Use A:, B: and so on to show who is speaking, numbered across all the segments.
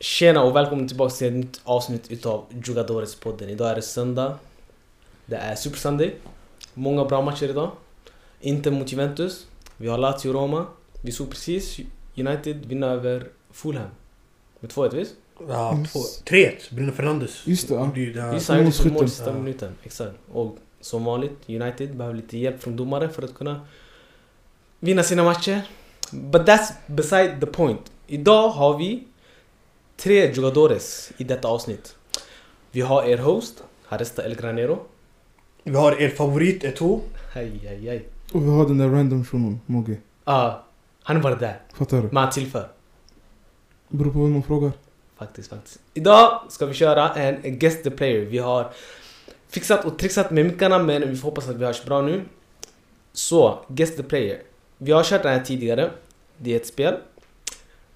A: Tjena och välkommen tillbaka till ett nytt avsnitt utav Jugadores-podden. Idag är det söndag. Det är Super Sunday. Många bra matcher idag. Inte mot Juventus. Vi har Lazio-Roma. Vi såg precis United vinna över Fulham. Med 2-1 visst?
B: Ja,
C: Yes.
B: två, tre Bruno Fernandes.
C: Just det, ja.
B: Gjorde ju det här.
A: Just han gjorde sitt mål i
C: målskytten.
A: sista
B: Ja.
A: minuten. Exakt. Och som vanligt, United behöver lite hjälp från domaren för att kunna vinna sina matcher. But that's beside the point. Idag har vi tre jugadores i detta avsnitt. Vi har er host, Haresta El Granero.
B: Vi har er favorit Eto'o.
A: Hej, hej, hej.
C: Och vi har den där random shunon, Mogge.
A: Ah, han är bara där.
C: Fattar du?
A: Men han tillför.
C: Beror på vem man frågar.
A: Faktiskt, faktiskt. Idag ska vi köra en Guess the Player. Vi har fixat och trixat med mickarna men vi får hoppas att vi hörs bra nu. Så, Guess the Player. Vi har kört den här tidigare. Det är ett spel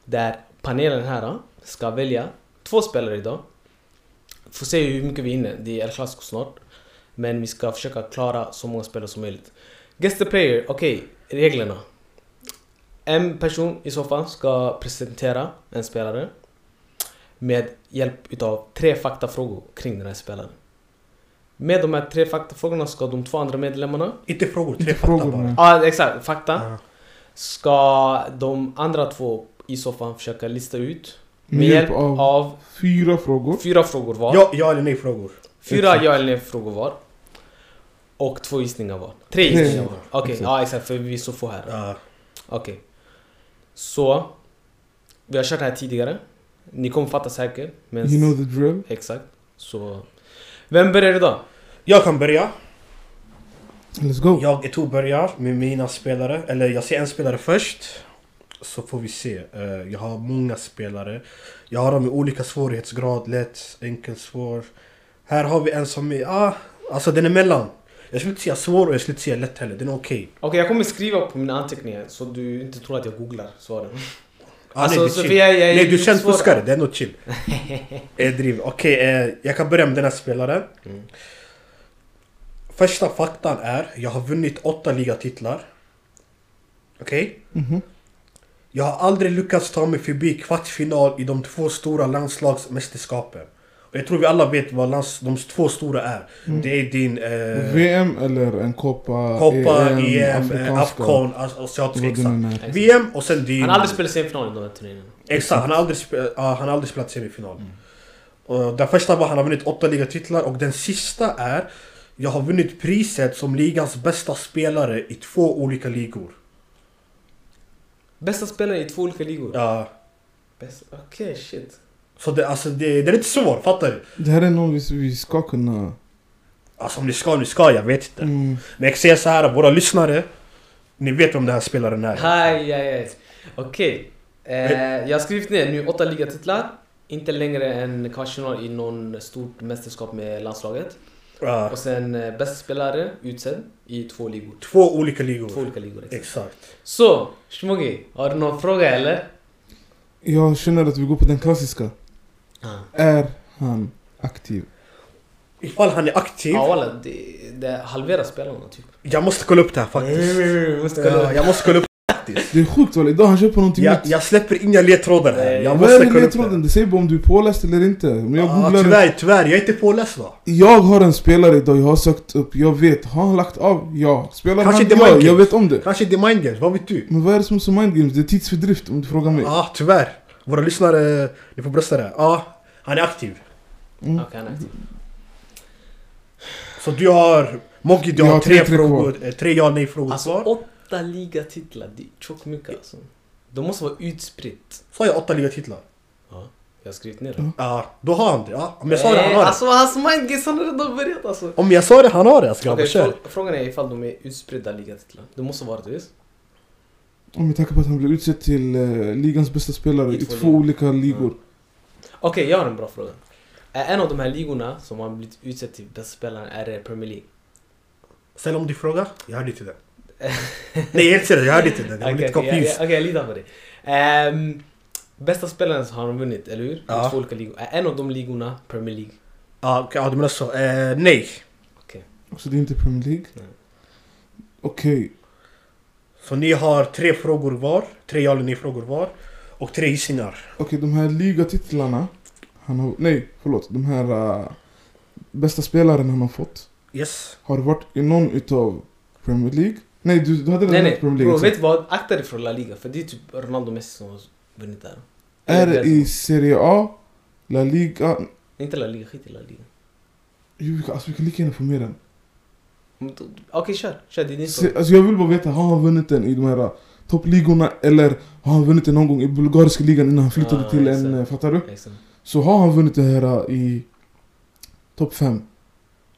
A: där panelen här ska välja två spelare idag. Får se hur mycket vi hinner. Det är El Clasico snart. Men vi ska försöka klara så många spelare som möjligt. Guess the Player, okej. reglerna. En person i soffan ska presentera en spelare med hjälp utav tre faktafrågor kring den här spelaren. Med de här tre faktafrågorna ska de två andra medlemmarna,
B: Inte frågor, tre
C: Inte
B: fattar
C: frågor,
B: bara.
C: men-
A: ja ah, exakt, fakta,
B: Ja.
A: ska de andra två i soffan försöka lista ut med,
C: Med
A: hjälp
C: hjälp av-
A: av
C: Fyra frågor.
A: fyra frågor var.
B: Ja, ja eller nej frågor.
A: Fyra ja eller nej frågor var. Och två gissningar var. Tre gissningar var. Okej,
C: Exakt.
A: ja exakt för vi är så få här.
B: Ja.
A: Okej. Så. Vi har kört det här tidigare. Ni kommer fatta säkert. Men
C: You know the drill.
A: Exakt. Så... Vem börjar idag?
B: Jag kan börja.
C: Let's go.
B: Jag Eto'o börjar med mina spelare. Eller jag ser en spelare först. Så får vi se. Eh, Jag har många spelare. Jag har dem i olika svårighetsgrad. Lätt, enkel, svår. Här har vi en som är... Ah, alltså den är mellan. Jag skulle inte säga svår och jag skulle inte säga lätt heller. Den är okej.
A: Okej, jag kommer skriva på mina anteckningar så du inte tror att jag googlar svaren.
B: Ah,
A: Alltså,
B: nej, det är
A: så
B: chill.
A: för jag- jag är
B: nej, du
A: lite
B: känns
A: svår.
B: fuskare. Det är nog chill. Jag driver. Okej, eh, jag kan börja med den här spelaren.
A: Mm.
B: Första faktan är, jag har vunnit åtta ligatitlar. Okej?
C: Mhm.
B: Jag har aldrig lyckats ta mig förbi kvartsfinal i de två stora landslagsmästerskapen. Och jag tror vi alla vet vad lands, de två stora är.
C: Mm.
B: Det är din... Eh,
C: VM eller en Copa, E
B: Copa, EM, eh,
C: afrikanska,
B: Afcon, as- asiatiska.
C: vad den
B: exakt.
C: än är.
A: Exakt.
B: VM och sen din...
A: Han har aldrig spelat semifinal i de här turneringarna.
B: Exakt, han har aldrig, spe- ja, han har aldrig spelat semifinal. Och den första var han har vunnit åtta ligatitlar och den sista är Jag har vunnit priset som ligans bästa spelare i två olika ligor.
A: Bästa spelare i två olika ligor?
B: Ja,
A: Bäst- Okej, shit.
B: så det, alltså, det, det är lite svårt, fattar du?
C: Det här är någon vi, vi ska kunna...
B: Alltså om ni ska, ni ska, jag vet inte.
C: Mm.
B: Men jag säger så här, våra lyssnare Ni vet vem den här spelaren är.
A: Hej, hej, hej. Okej. Eh, jag har skrivit ner nu åtta ligatitlar. Inte längre än kvartsfinal i någon stort mästerskap med landslaget.
B: Ja,
A: Och sen eh, bästa spelare utsedd i två ligor.
B: två olika ligor.
A: Två olika ligor. Exakt.
B: Exakt.
A: Så, Shmogi, har du någon fråga eller?
C: Jag känner att vi går på den klassiska.
A: Ja.
C: Är han aktiv?
B: Ifall han är aktiv,
A: Ja walla, det, det halverar spelarna typ.
B: jag måste kolla upp det här faktiskt.
A: Måste kolla.
B: Ja, jag måste kolla upp det här faktiskt.
C: Det är sjukt walla, idag han köper någonting
B: Jag,
C: nytt.
B: jag släpper inga ledtrådar här. Jag
C: Eh, Vad är
B: måste
C: det
B: kolla upp det.
C: ledtråden? Det säger bara om du är påläst eller inte. Men jag
B: Ah,
C: googlar
B: tyvärr, tyvärr. Jag är inte påläst va?
C: Jag har en spelare idag, jag har sökt upp, jag vet. Har han lagt av? Ja. Spelar
B: Kanske
C: han?
B: inte
C: Ja,
B: Michael.
C: jag vet om det.
B: Kanske det är mind games, vad vet du?
C: Men vad är det som är så mind games? Det är tidsfördrift om du frågar mig.
B: Ja, ah, tyvärr. Våra lyssnare, ni får brösta det här. Ja, ah, han är aktiv.
C: Mm.
A: Okej, han är aktiv.
B: Så du har... Moggi, du
C: Jag
B: har
C: har
B: tre,
C: tre, tre
B: frågor, eh, tre ja nej frågor
A: Alltså
B: kvar.
A: åtta ligatitlar, det är tjockt mycket alltså. De måste vara utspritt.
B: Sa jag åtta ligatitlar?
A: Ja, jag har skrivit ner det.
B: Ja, då har han det. Ja, om jag sa det, han har det.
A: Alltså hans mindgames, han har redan börjat alltså.
B: Om jag sa det, han har det. Alltså, grabbar,
A: Okej,
B: kör.
A: frå- frågan är ifall de är utspridda ligatitlar. Det måste vara det visst?
C: Om jag tänker på att han blev utsedd till eh, ligans bästa spelare
A: I
C: i
A: två
C: två olika ligor.
A: Okej, jag har en bra fråga. Är en av de här ligorna som har blivit utsedd till bästa spelaren, är det Premier League?
B: Ställ om din fråga. Jag hörde inte det. nej, helt seriöst. Jag hörde inte det. Jag
A: Okej,
B: var lite
A: okej, jag- jag-
B: confused.
A: Okej, jag litar på dig. Ehm, bästa spelaren så har de vunnit, eller hur?
B: Ja.
A: I två olika ligor. Är en av de ligorna Premier League?
B: Ja, Ah, okej, ja, du menar så. Eh, nej.
C: Så det är inte Premier League.
A: Nej.
C: Okej,
B: Så ni har tre frågor var. Tre ja eller nej frågor var. Och tre gissningar.
C: Okej, de här ligatitlarna. Han har, nej, förlåt. De här eh, bästa spelaren han har fått.
B: Yes.
C: Har det varit i någon utav Premier League? Nej, du, du hade redan
A: Nej
C: nämnt
A: nej, bro,
C: Premier
A: vet
C: League. också.
A: du vad? Akta dig från La Liga för det är typ Ronaldo Messi som har vunnit där.
C: Är
A: Eller
C: det i Serie A, La Liga...
A: Inte La Liga, skit i La Liga.
C: Jo, vi kan- alltså, vi kan lika gärna få med den.
A: Men då- Okej kör, kör det är din fråga.
C: Se, alltså, jag vill bara veta, har han vunnit den i de här eh, toppligorna eller har han vunnit den någon gång i bulgariska ligan innan han flyttade
A: Ah,
C: till en...
A: exakt.
C: eh, Fattar du?
A: Exakt.
C: Så har han vunnit det här eh, i topp 5.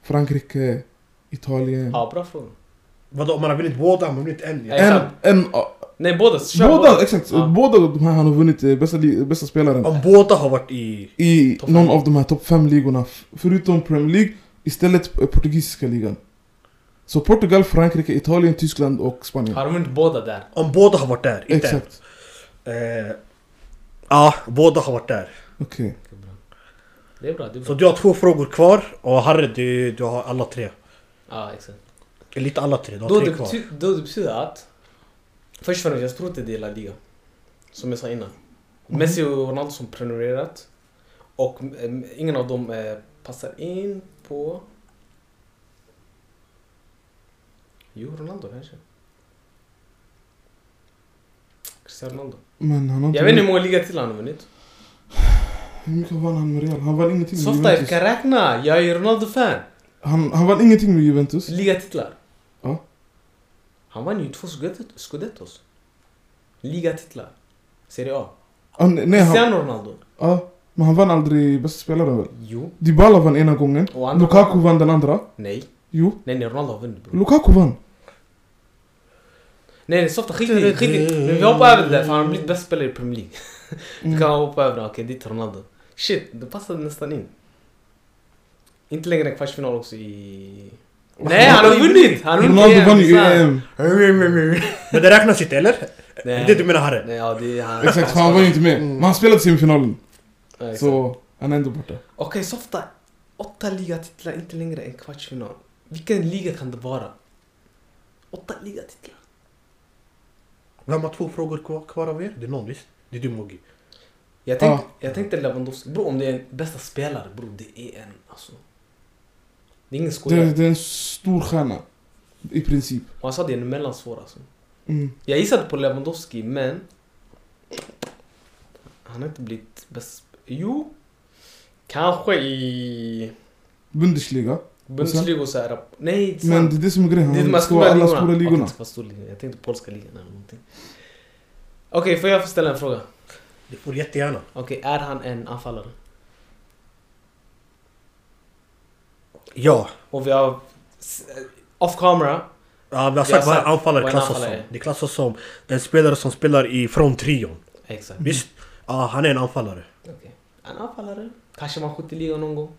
C: Frankrike, Italien.
A: Ja, bra fråga.
B: Vadå, om man har vunnit båda, man har vunnit en.
A: Ja,
B: Ja.
C: en,
A: exakt.
C: en, eh,
A: Nej båda, kör
C: båda, exakt.
A: Ja.
C: Båda de här han har vunnit eh, bästa, li- bästa spelaren
B: Om båda har varit i...
C: i
A: Topp fem.
C: någon av de här topp 5 ligorna. f- Förutom Premier League, istället eh, portugisiska ligan. Så Portugal, Frankrike, Italien, Tyskland och Spanien.
A: Har de vunnit båda där?
B: Om båda har varit där, inte en.
C: Exakt.
B: Eh, ja, båda har varit där.
C: Okej.
A: Okej, bra. Det är bra, det är bra.
B: Så du har två frågor kvar och Harry, du, du har alla tre.
A: Ja, exakt.
B: Eller inte alla tre, du har
A: Då
B: tre
A: det,
B: kvar.
A: bety- då det betyder att... Först och främst, jag tror inte det är La Liga. Som jag sa innan.
B: Mm.
A: Messi och Ronaldo som prenumererat. Och eh, ingen av dem eh, passar in på... Jo, Ronaldo kanske. Cristiano Ronaldo.
C: Men han har inte
A: Jag vet inte hur många ligatitlar han har vunnit.
C: Hur mycket vann han med Real? Han vann ingenting med
A: Softa, jag
C: Juventus.
A: kan räkna! Jag är Ronaldo-fan!
C: Han, han vann ingenting med Juventus.
A: Ligatitlar.
C: Ja.
A: Han vann ju två scudetto- scudettos. Ligatitlar. Serie A.
C: Han, Ah, nej, han,
A: Cristiano Ronaldo.
C: ja, men han vann aldrig bästa spelaren väl?
A: Jo.
C: Dybala vann ena gången.
A: Och andra
C: Lukaku vann den andra.
A: Nej.
C: Jo,
A: Nej, nej, Ronaldo har vunnit bror.
C: Lukaku vann.
A: Nej, nej, softa. Skit i det. Skit i det. Men vi hoppar över det där för han har blivit bäst spelare i Premier League. Du
C: Mm.
A: kan hoppa över det. Okej, dit Ronaldo. Shit, det passade nästan in. Inte längre än kvartsfinal också i... Nej, han har vunnit! Han har vunnit
C: Ronaldo vann ju
A: sant.
C: EM.
B: Men det räknas inte, eller? Det
A: Nej.
B: är det du menar Harry?
A: Nej, ja, det är han.
C: Exakt, för han var ju inte
B: Mm.
C: med. Men han spelade semifinalen.
A: Ja, exakt.
C: Så han är ändå borta.
A: Okej, softa. Åtta ligatitlar, inte längre än kvartsfinal. Vilken liga kan det vara? Åtta ligatitlar.
B: Vem har två frågor kvar, kvar av er? Det är någon visst? Det är du Moggi.
A: Jag tänkte, jag tänkte Lewandowski. Bro, om det är en bästa spelare, bro, det är en alltså. Det är ingen skojare.
C: Det, det är en stor stjärna. I princip.
A: Och han sa det är en mellansvår alltså.
C: Mm.
A: Jag gissade på Lewandowski, men... Han har inte blivit bäst... Jo. Kanske i...
C: Bundesliga.
A: Bundesliga och så här. Nej, inte
C: Men
A: sant.
C: det är det som är grejen.
A: Det är de här
C: Han ska
A: stora
C: vara
A: ligorna.
C: alla stora
A: Mm, Okej,
C: ligorna.
A: det ska vara stora ligorna. Jag tänkte polska ligan eller någonting. Okej, får jag få ställa en fråga?
B: Det får du jättegärna.
A: Okej, är han en anfallare?
B: Ja.
A: Och vi har... s- Off camera.
B: Ja, vi har
A: Jag har
B: sagt vad en
A: sagt
B: anfallare
A: vad en
B: klassas som.
A: anfallare är. Mm.
B: Det klassas som en spelare som spelar i front trion.
A: Exakt.
B: Visst? Ja, han är en anfallare.
A: Okej. En anfallare. Kanske man skjuter ligan någon gång.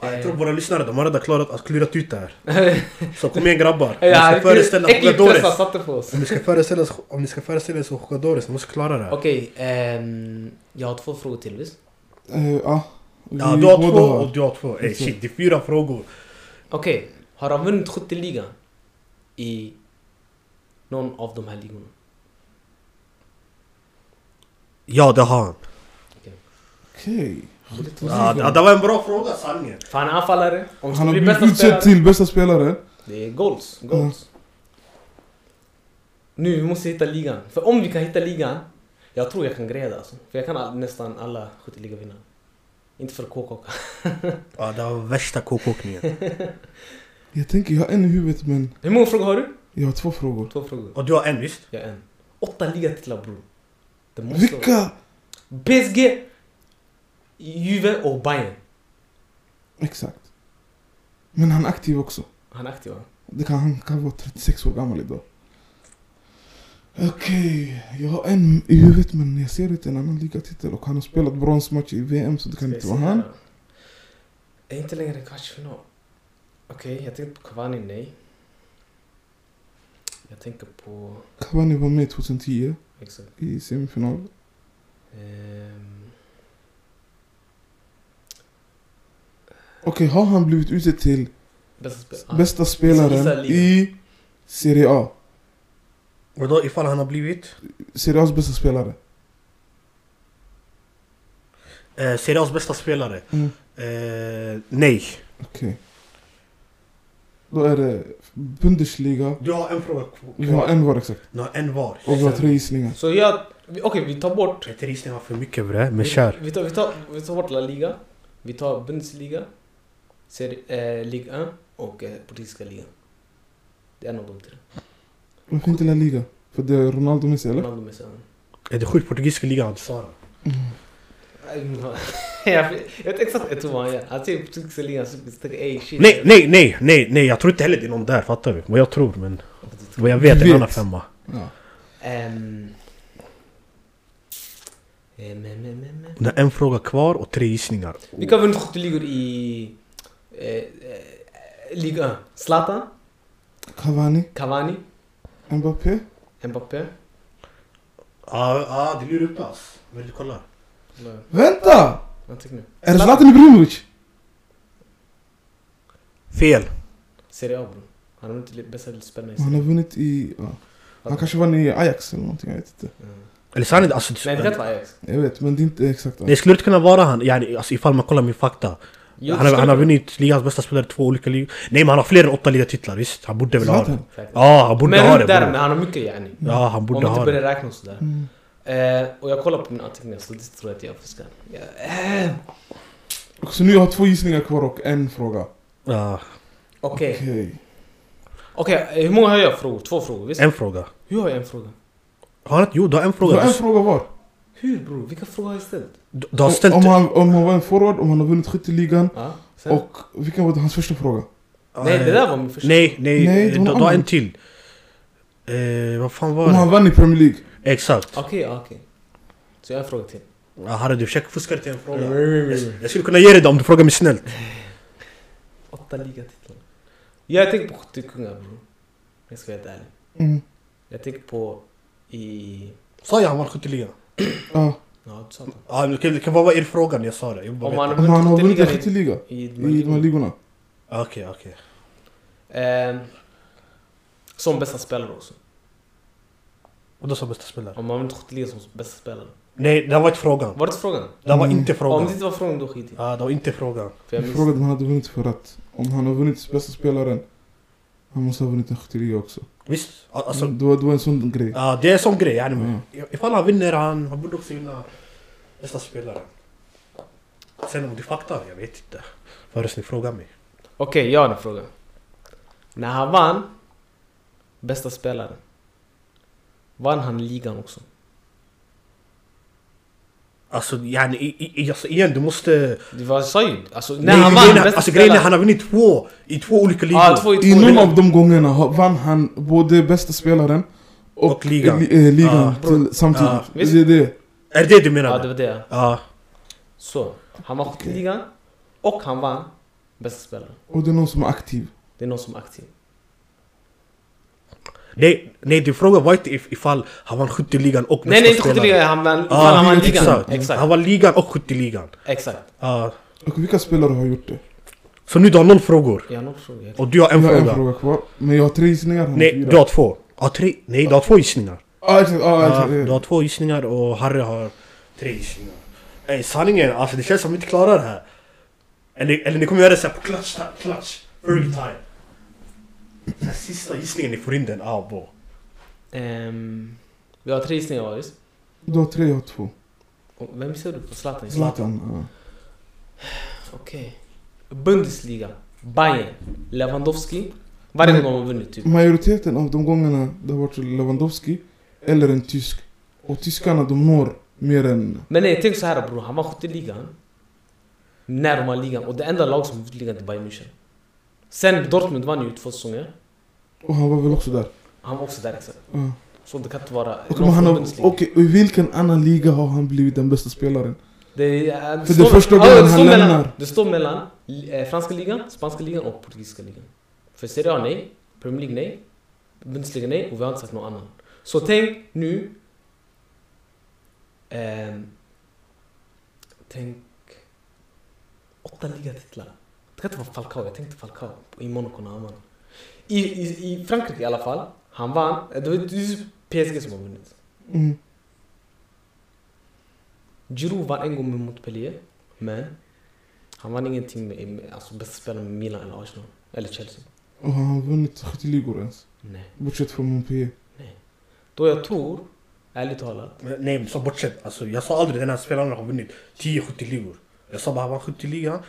B: Ja,
A: Eh.
B: jag tror våra lyssnare, de har redan klarat att klurat ut det här. Så kom igen grabbar. Om ni
A: Eh, Ja,
B: ska föreställa
A: äcklig press han
B: Jugadores.
A: satte på oss.
B: Om ni ska föreställa er- om ni ska föreställa er som Jugadores, ni måste klara det här.
A: Okej, ehm, jag har två frågor till visst?
C: Eh, ja.
B: Ja,
C: Vi
B: du har
C: båda
B: två och du har två. Ey
C: Exakt.
B: shit, det är fyra frågor.
A: Okej, har han vunnit skytteligan i någon av de här ligorna?
B: Ja, det har han.
C: Okej.
B: Ja, det, det var en bra fråga sanningen.
A: För han är anfallare. Om
C: Han har
A: blir
C: blivit
A: bästa spelare.
C: utsedd till bästa spelare.
A: Det är goals. goals.
C: Mm.
A: Nu, vi måste hitta ligan. För om vi kan hitta ligan, jag tror jag kan greja det alltså. För jag kan all, nästan alla skytteligavinnare. Inte för KK.
B: Ja, det var värsta kokåkningen.
C: Jag tänker, jag har en i huvudet men
A: Hur många frågor har du?
C: jag har två frågor.
A: Två frågor.
B: Och du har en visst?
A: Jag har en. Åtta ligatitlar bror. Det måste vara-
C: Vilka?
A: PSG, Juve och Bayern.
C: Exakt. Men han är aktiv också.
A: Han är aktiv va?
C: Det kan, han kan vara 36 år gammal idag. Okej, jag har en i huvudet men jag ser inte en annan ligatitel och han har spelat bronsmatch i VM så det kan
A: Ska
C: inte
A: vi
C: vara
A: se här
C: han.
A: då? Är inte längre en kvartsfinal. Okej, jag tänkte på Cavani, nej. Jag tänker på...
C: Cavani var med 2010
A: Exakt.
C: i semifinal.
A: Ehm,
C: Okej, har han blivit utsedd till
A: bästa spelare.
C: bästa
A: Gissa
C: spelaren
A: ligan.
C: i Serie A?
B: Vadå ifall han har blivit?
C: Serie A's bästa spelare.
B: Eh, Serie A's bästa spelare?
C: Mm.
B: Eh, nej.
C: Okej. Då är det Bundesliga.
B: Du har en fråga kvar.
C: Vi har en var exakt.
B: Du har en var.
C: Och vi har tre gissningar.
A: Så jag... ah. vi- Okej, vi tar bort...
B: Ett risning var för mycket bre, men
A: vi,
B: kör.
A: Vi tar, vi, tar, vi tar bort La Liga. Vi tar Bundesliga. Serie, eh, Liga 1 och eh, portugisiska ligan. Det är en av de tre.
C: Varför inte La Liga? För det är Ronaldo Messi eller?
A: Ronaldo Messi. han-
B: Är det sjukt portugisiska ligan hade Sara?
A: jag vet exakt jag tror vad han gör. Han säger portugisiska ligan så tänker ey shit.
B: Nej, nej, nej, nej, nej, jag tror inte heller det är någon där, fattar du? Vad jag tror, men vad jag vet är
C: Vet.
B: en annan femma.
C: Ja.
A: Ehm. Ehm, ehm, ehm, ehm.
B: Det är en fråga kvar och tre gissningar.
A: Vilka har vunnit skytteligor i eh, eh, Liga 1? Zlatan,
C: Cavani,
A: Cavani,
C: Mbappé.
A: Mbappé.
B: Ja, ja, Ah, det lurar upp oss. Vad är det du kollar?
C: Vänta!
A: Vad tycker ni?
C: Är det Zlatan Ibrahimovic?
B: Fel.
A: Serie A bror. Han har inte bästa spelarna i
C: Han
A: Serie
C: har vunnit i... Ja. Mm. Han kanske vann i Ajax eller någonting, jag vet inte.
A: A. Mm.
B: Eller så är det alltså...
A: Nej, det kan inte vara Ajax.
C: Jag vet, men det är inte exakt.
B: Det skulle inte kunna vara han, yani, alltså, ifall man kollar min fakta.
A: Jo,
B: han, har,
A: skulle
B: han har
A: kunna.
B: vunnit ligans bästa spelare i två olika ligor. Nej men han har fler än åtta ligatitlar, visst? Han borde väl ha det?
C: Zlatan?
A: Säkert.
B: Ja, han borde
A: Men
B: ha
A: runt
B: det
A: där, men
B: bror.
A: han har mycket yani.
B: Ja, han
A: Om
B: borde
A: man inte
B: ha
A: börjar
B: det.
A: räkna och sådär.
C: Mm.
A: Eh, och jag kollar på mina anteckningar så det tror jag att jag fuskar. Ja, eh,
C: Och Så nu har jag två gissningar kvar och en fråga.
B: Ja,
A: Okej.
C: Okej.
A: Okej, eh, hur många har jag frågor? Två frågor, visst?
B: en fråga.
A: Hur har jag en fråga?
B: Har han inte? Jo, du har en
C: Du
B: fråga.
C: har en
B: Du,
C: fråga var.
A: Hur bror? Vilka frågor har jag ställt?
B: du, har
C: Om- Om
B: ställt...
C: han, om han var en forward, om han har vunnit skytteligan
A: Ja, sen?
C: och vilken var hans första fråga?
A: Nej, det där var min första.
B: Nej, nej,
C: Nej,
B: eh,
C: det
B: du,
C: var
B: du har en
C: annan.
B: till. Eh, vad fan var
C: Om han
B: det?
C: vann i Premier League?
B: Exakt.
A: Okej, ja, okej. Så jag har en fråga till.
B: Ja, Harry du försöker fuska dig till en fråga.
A: Mm.
B: Jag skulle kunna ge dig det om du frågar mig snällt.
A: Åtta ligatitlar. Jag tänker på skyttekungar bror. Jag ska vara helt ärlig.
C: Mm.
A: Jag tänker på i...
B: Sa jag han vann skytteligan?
C: Ja.
A: Ja, du sa det.
B: Ja, men det kan- det kan bara vara er fråga när jag sa det. Jag bara
A: Om
B: vet
A: han
B: inte.
A: har
C: Om han har
A: vunnit
C: vunnit en
A: skytteligan
C: skytteliga
A: i... i de här
C: i de här
A: ligorna.
C: ligorna?
B: Okej, okej.
A: Ehm, som bästa spelare också.
B: Och då sa bästa spelare?
A: Om man inte skjuter ligan som bästa spelare.
B: Nej, det var inte frågan.
A: Var det frågan?
B: Det var
C: Mm.
B: inte
A: Om
B: frågan.
A: det inte var frågan då skit i.
B: Ja, det var inte frågan.
A: För jag
C: Jag
A: missade.
C: frågade om han hade vunnit för att om han har vunnit bästa spelaren, han måste ha vunnit en skytteliga också.
B: Visst? Ja, Alltså,
C: det, var, det var en sån grej.
B: ja, det är en sån grej. yani.
C: Mm.
B: Ifall han vinner, han, han borde också vinna bästa spelare. Sen om du fattar, jag vet inte. Förrän ni frågar mig.
A: Okej, jag har en fråga. När han vann bästa spelaren. Vann han ligan också?
B: Alltså, yani, i, i, i- alltså igen, du måste...
A: Det var jag sa ju. Alltså när
B: Nej,
A: han vann
B: grejen, är-
A: bästa
B: alltså, grejen är
A: spelaren.
B: han har vunnit två i två olika ligor.
A: Ja, två i två.
C: I någon
A: ligor.
C: av de gångerna har- vann han både bästa spelaren och,
B: Och ligan.
C: li- eh, ligan
B: Ah.
C: till, samtidigt.
B: Ah.
A: Visst.
C: Det är det.
B: Är det det du menar?
A: Ja,
B: Ja,
A: det var det. Så. Han vann
C: Okej.
A: ligan och han vann bästa spelaren.
C: Och det är någon som är aktiv.
A: Det är någon som är aktiv.
B: Nej, nej, din fråga var inte if- ifall han vann skytteligan och
A: Nej, nej, inte skytteligan. Han vann,
B: Ja,
A: ifall han vann ligan.
B: exakt. Han
A: Exakt.
B: vann ligan och skytteligan.
A: Exakt.
B: Ja.
C: Och vilka spelare har gjort det?
B: Så nu du har noll frågor.
A: Jag har nog frågat.
B: Och du har en
C: jag har
B: fråga.
C: en fråga kvar. Men jag har tre gissningar. han har
B: Nej,
C: fyra.
B: du har två. Ja, tre. Nej, du har två gissningar.
C: Ah, exakt. Ah,
B: Ja,
C: exakt. eh.
B: du har två gissningar och Harry har tre gissningar. Ey, sanningen, alltså det känns som vi inte klarar det här. Eller, eller ni kommer göra det såhär på klatsch, ta- klatsch, early time. Den här sista gissningen, ni får in den, abo.
A: Ehm, vi har tre gissningar var, visst?
C: Du har tre, jag har två.
A: Och Vem ser du på? Zlatan?
C: Zlatan. ja.
A: Okej. Bundesliga. Bayern. Lewandowski. Varje
C: Mm.
A: gång de har vunnit typ.
C: Majoriteten av de gångerna det har varit Lewandowski eller en tysk. Och tyskarna de når mer än...
A: Men nej, tänk så här bror. Han vann skytteligan. När de vann ligan. Och det enda lag som vunnit ligan är Bayern München. Sen Dortmund vann ju två säsonger.
C: Och han var väl också där.
A: Han var också där exakt.
C: Ja.
A: Så det kan inte vara... någon
C: Och men han
A: från
C: har,
A: Bundesliga.
C: okej, och i vilken annan liga har han blivit den bästa spelaren?
A: Det, är-
C: För det är första
A: ja,
C: gången
A: det
C: han
A: står mellan,
C: lämnar.
A: Det står mellan eh, franska ligan, spanska ligan och portugisiska ligan. För Serie A nej, Premier League nej, Bundesliga nej och vi har inte sagt någon annan. Så tänk nu... ehm, tänk... Åtta ligatitlar. Det kan inte vara Falcao, jag tänkte Falcao i Monaco när han vann. I, i, I Frankrike i alla fall, han vann. eh, Det var ju PSG som har vunnit.
C: Mm.
A: Giroud vann en gång med Montpellier, men han vann ingenting med, med alltså bästa spelaren med Milan eller Arsenal. Eller Chelsea.
C: Och han har vunnit 70 ligor ens.
A: Nej.
C: Bortsett från Montpellier.
A: Då jag tror, ärligt talat,
B: Men Nej, så bortsett. Alltså, jag sa aldrig den här spelaren har vunnit 10 70-ligor. Jag sa bara han vann 70-ligan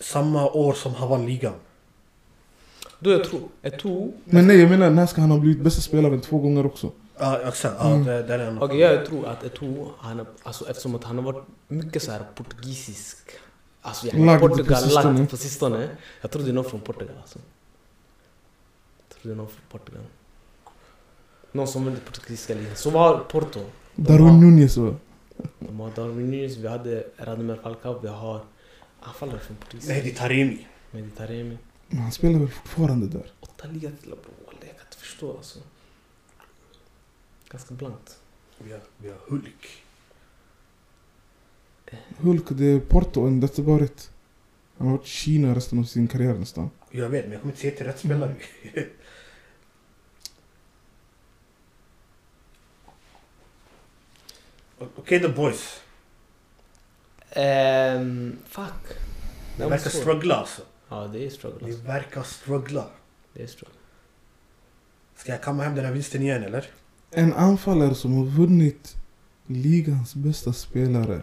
B: samma år som han vann ligan.
A: då jag tror, jag tror,
C: Men nej, jag menar när ska han ha blivit bästa spelaren två gånger också?
B: Ja, exakt. Ja,
C: Mm.
B: det, det är en...
A: okej jag tror att jag tror han, har- alltså eftersom att han har varit mycket så här portugisisk, alltså jag
C: Lagd på
A: Portugal,
C: sistone.
A: lagd på sistone. Jag tror det är någon från Portugal alltså. Jag tror det är någon från Portugal. Någon som vunnit portugisiska ligan. Så var Porto.
C: Darwin Nunez va?
A: De har Darwin Nunes, vi hade Radamel Falcao, vi har anfallare från
B: Nej,
A: Portugal.
B: det är Taremi.
A: Mehdi Taremi.
C: Men han spelar väl fortfarande där?
A: Åtta ligatitlar bror, wallah, jag kan inte förstå alltså. Ganska blankt.
B: Vi har, vi har Hulk.
C: Hulk, det är Porto and that's about it. Han har varit i Kina resten av sin karriär nästan.
B: Jag vet, men jag kommer inte säga till rätt spelare. O- Okej the boys.
A: Ehm, fuck.
B: Ni
A: var
B: verkar Mm.
A: svårt.
B: struggla alltså.
A: Ja, det är struggle
B: Ni
A: alltså.
B: verkar struggla.
A: Det är struggle.
B: Ska jag kamma hem den här vinsten igen eller?
C: En anfallare som har vunnit ligans bästa spelare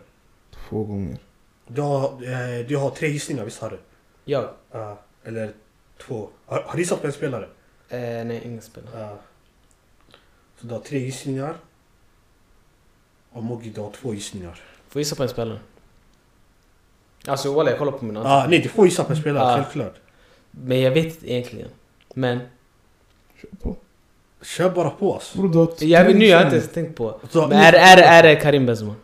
C: två gånger.
B: Du har, eh, du har tre gissningar, visst har du?
A: Jag?
B: Ja, eller två. Har, har du gissat på en spelare?
A: Eh, nej, ingen spelare.
B: Ja. Så du har tre gissningar. Och Mogi, du har två gissningar.
A: Får gissa på en spelare? Alltså walla, jag kollar på min
B: Ah, nej, du får gissa på en spelare,
A: Ja.
B: självklart.
A: Men jag vet inte egentligen. Men,
C: Kör på.
B: Kör bara på alltså.
C: Bror, du har
A: jag vet nu, jag har inte ens
C: tre-
A: tänkt på.
B: Så-
A: Men är, är, är det Karim Benzema?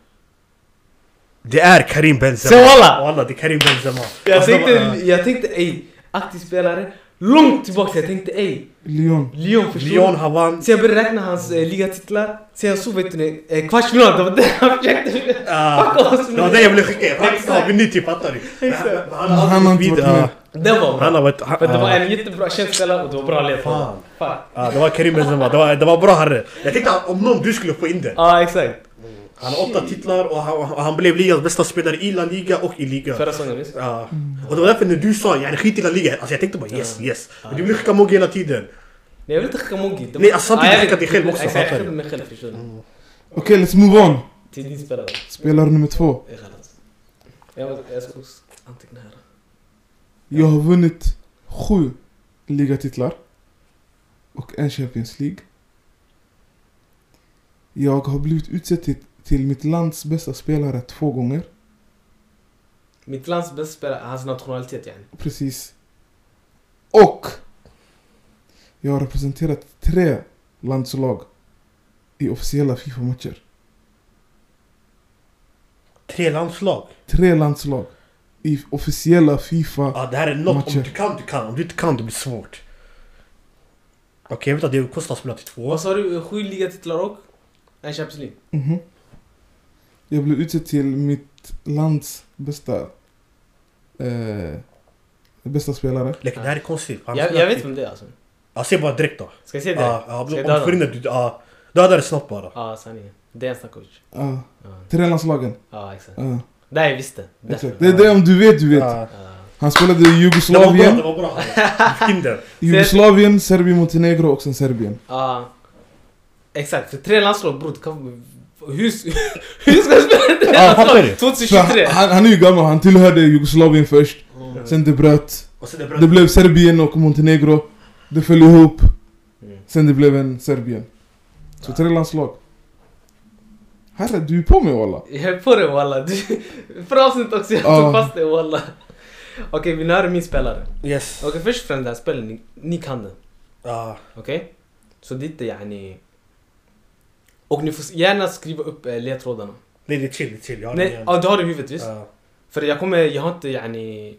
B: Det är Karim Benzema!
A: Se, wallah!
B: Wallah, det är Karim Benzema!
A: Jag
B: Alltså,
A: tänkte,
B: eh,
A: jag tänkte ey, aktiv spelare. Långt tillbaka, jag tänkte ey,
C: Lyon.
A: Lyon förstår
B: Lyon
A: Lyon.
B: har vann...
A: Sen jag började räkna hans eh, ligatitlar, sen så vet ni, eh, kvartsfinal, det var det han försökte.
B: Ah,
A: Fuck oss,
B: det var det jag ville skicka! Han har
A: Exakt.
B: vunnit typ, fattar du?
A: Exakt.
B: Men Han
C: Han har
B: har
C: inte
B: vid,
C: varit med.
A: Det var
B: Han
A: bra.
B: har varit...
A: För det var
B: ah,
A: en jättebra känd spelare och det var bra led.
B: Fan.
A: Fan.
B: ah, det var Karim Benzema, det var, det var bra herre! Jag tänkte att om någon du skulle få in den!
A: Ja, exakt.
B: Han har åtta titlar och han, och han blev ligans bästa spelare i La Liga och i ligan.
A: Förra säsongen visst?
B: Ja. Och det var därför när du sa yani skit i La Liga, alltså jag tänkte bara yes,
A: Ah.
B: yes. Men du ville skicka Mogi hela tiden.
A: Nej, jag vill inte skicka Mogi. Det var-
B: Nej, alltså,
A: Ja,
B: samtidigt
A: jag
B: skicka
A: vet.
B: dig själv också,
A: Exakt, jag
B: fattar du? Mm.
A: skickade mig själv förstår du.
C: Okej, let's move on.
A: Till din spelare.
C: Spelare nummer två.
A: Det är galet. Jag måste- jag ska också anteckna här.
C: Jag har vunnit sju ligatitlar. Och en Champions League. Jag har blivit utsedd till, till mitt lands bästa spelare två gånger.
A: Mitt lands bästa spelare, hans nationalitet yani.
C: Precis. Och jag har representerat tre landslag i officiella FIFA-matcher.
B: Tre landslag.
C: Tre landslag i officiella FIFA.
B: Ja, det här är något, om
C: Matcher.
B: du kan, du kan. Om du inte kan, det blir svårt. Okej, jag vet att det kostar att spela till två.
A: Vad sa du? Eh, Sju ligatitlar och en Champions League?
C: Mhm. Jag blev utsedd till mitt lands bästa eh, bästa spelare.
B: Like, det här är konstigt. Han
A: Jag,
B: spelar
A: jag vet
B: till-
A: vem det är alltså.
B: Ja, se bara direkt då.
A: Ska jag säga det?
B: Ja,
A: Ja,
B: ja, om
A: Ska
B: du
A: jag döda
B: får in det, du... Ja, döda det snabbt bara.
A: ah, sanningen. Det är en snack coach.
C: Ja,
A: Ja,
C: tre Ah. landslagen.
A: ah, exakt.
C: Ja,
A: Där jag visste. Där.
C: exakt. Det är det om du vet, du vet.
B: Ja.
A: Ah.
C: Han spelade i
B: Det var bra, det
C: Jugoslavien,
B: var bra. Du fick in den.
C: Jugoslavien, Serbien, Montenegro och sen Serbien.
A: Ja. Exakt, för tre landslag bror, det kan... Hur, hur ska jag spela tre
B: Ja, fattar du?
A: landslag?
C: För
A: 2023!
C: han, han är ju gammal, han tillhörde Jugoslavien först.
A: Mm.
C: Sen det bröt.
B: Och sen det
C: Det
B: bröt.
C: blev Serbien och Montenegro. Det föll ihop.
A: Mm.
C: Sen det blev en Serbien. Så tre landslag. Herre, du är på mig walla.
A: Jag är på dig walla, Du- förra avsnittet också jag
C: Ja.
A: tog fast dig walla. Okej, vill ni höra min spelare?
B: Yes.
A: Okej, först och främst det här spelet, ni, ni kan det.
B: Ja.
A: Okej? Så det är inte yani... Och ni får gärna skriva upp eh, ledtrådarna.
B: Nej, det är chill, det är chill. Jag har den
A: Nej,
B: igen.
A: ja, du har det i huvudet visst?
B: Ja.
A: För jag kommer, jag har inte yani...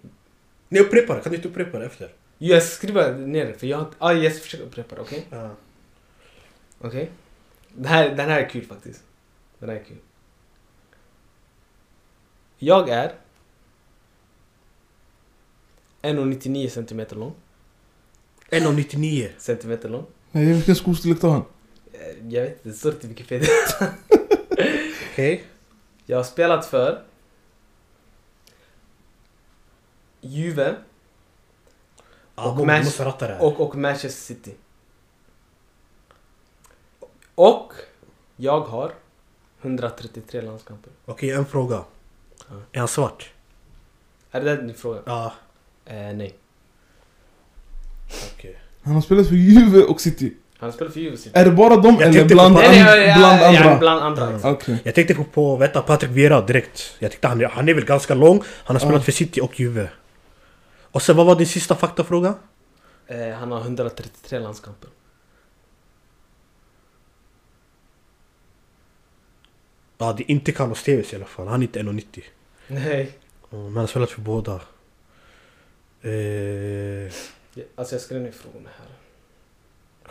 B: Nej, upprepa det. Kan du inte upprepa det efter?
A: Jag skriver ner det för jag har inte... Ah, jag ska försöka upprepa det, okej?
B: Ja.
A: Okej. Den, här, den här är kul faktiskt. Den här är kul. Jag är 1,99 centimeter lång.
B: 1,99.
A: Centimeter lång.
C: Nej, vilken skostorlek tar han?
A: eh, Jag vet inte, det står inte i Wikipedia.
B: Okej.
A: Jag har spelat för Juve
B: Ah,
A: Och
B: Momo,
A: match-
B: du måste ratta det här.
A: och, och Manchester City. Och jag har 133 landskamper.
B: Okej, en fråga.
A: Ja.
B: Är han svart?
A: Är det där din fråga?
B: Ja.
A: Eh, nej.
B: Okej.
C: Han har spelat för Juve och City.
A: Han spelar för Juve City.
C: Är det bara dem
B: Jag
C: eller
B: tänkte
C: bland,
B: på-
C: an,
A: Nej, nej, ja, ja,
C: bland
A: ja,
C: andra?
A: bland andra. liksom.
B: Ja.
A: exakt.
C: Okej.
B: Jag tänkte på, på vänta, Patrik Vieira direkt. Jag tänkte han, är- han är väl ganska lång. Han har spelat
C: Ja.
B: för City och Juve. Och sen vad var din sista faktafråga?
A: Eh, han har 133 landskamper.
B: Ja, det är inte Carlos Tevez i alla fall. Han är inte 1,90.
A: Nej.
B: Mm, Men han har spelat för båda. Eh,
A: Ja, Alltså jag skrev ner frågorna här.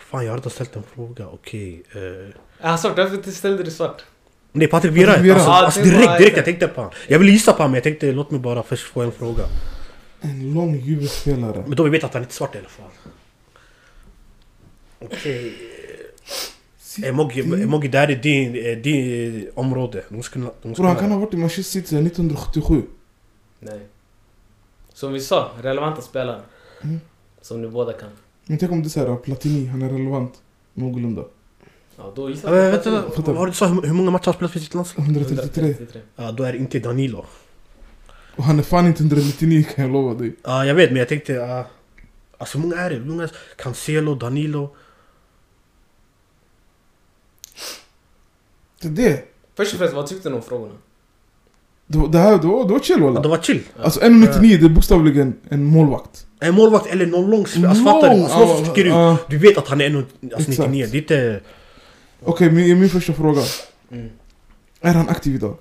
B: fan, jag har redan ställt en fråga. Okej. Eh,
A: Är han Ah, svart? Varför ställde du svart?
B: nej, Patrik Vieira.
C: Patrik Vieira.
B: Alltså,
A: Ja,
B: alltså
A: det var-
B: direkt, direkt. Jag tänkte på honom. Jag ville gissa på honom, men jag tänkte låt mig bara först få en fråga.
C: En lång Juve-spelare.
B: Men då vi vet att han inte är svart i alla fall. Okej.
C: City.
B: Eh, Emogi, Emogi, det här är din, eh, din eh, område. Du måste kunna... Du måste
C: Bror han kan
B: kunna.
C: ha varit i Manchester City sedan 1977.
A: Nej. Som vi sa, relevanta spelare.
C: Mm.
A: Som ni båda kan.
C: Men tänk om det är såhär, Platini, han är relevant. Någorlunda.
A: Ja, då
B: Ja,
A: gissar
B: men
A: jag.
B: Eh, vänta, vad var det du sa? Hur hur många matcher har han spelat för sitt landslag?
C: 133.
A: 133.
B: Ja, då är det inte Danilo.
C: Och han är fan inte 199 kan jag lova dig.
B: Ja, Ah, jag vet, men jag tänkte... Uh, alltså hur många är det? Hur många? Cancelo, Danilo...
C: Det, är det.
A: Först och främst, vad tyckte ni om frågorna?
C: Det, var- det här, det var, det var chill
B: Ja,
C: walla.
B: Ah, de var chill.
C: Alltså 199 det är bokstavligen en målvakt.
B: En målvakt eller någon lång spelare. Alltså fattar du? Alltså, någon som sticker ut.
C: ja.
B: Du vet att han är en, alltså, 99.
C: Ah, Exakt.
B: Det är inte...
C: Okej, min, min första fråga.
A: Mm.
C: Är han aktiv idag?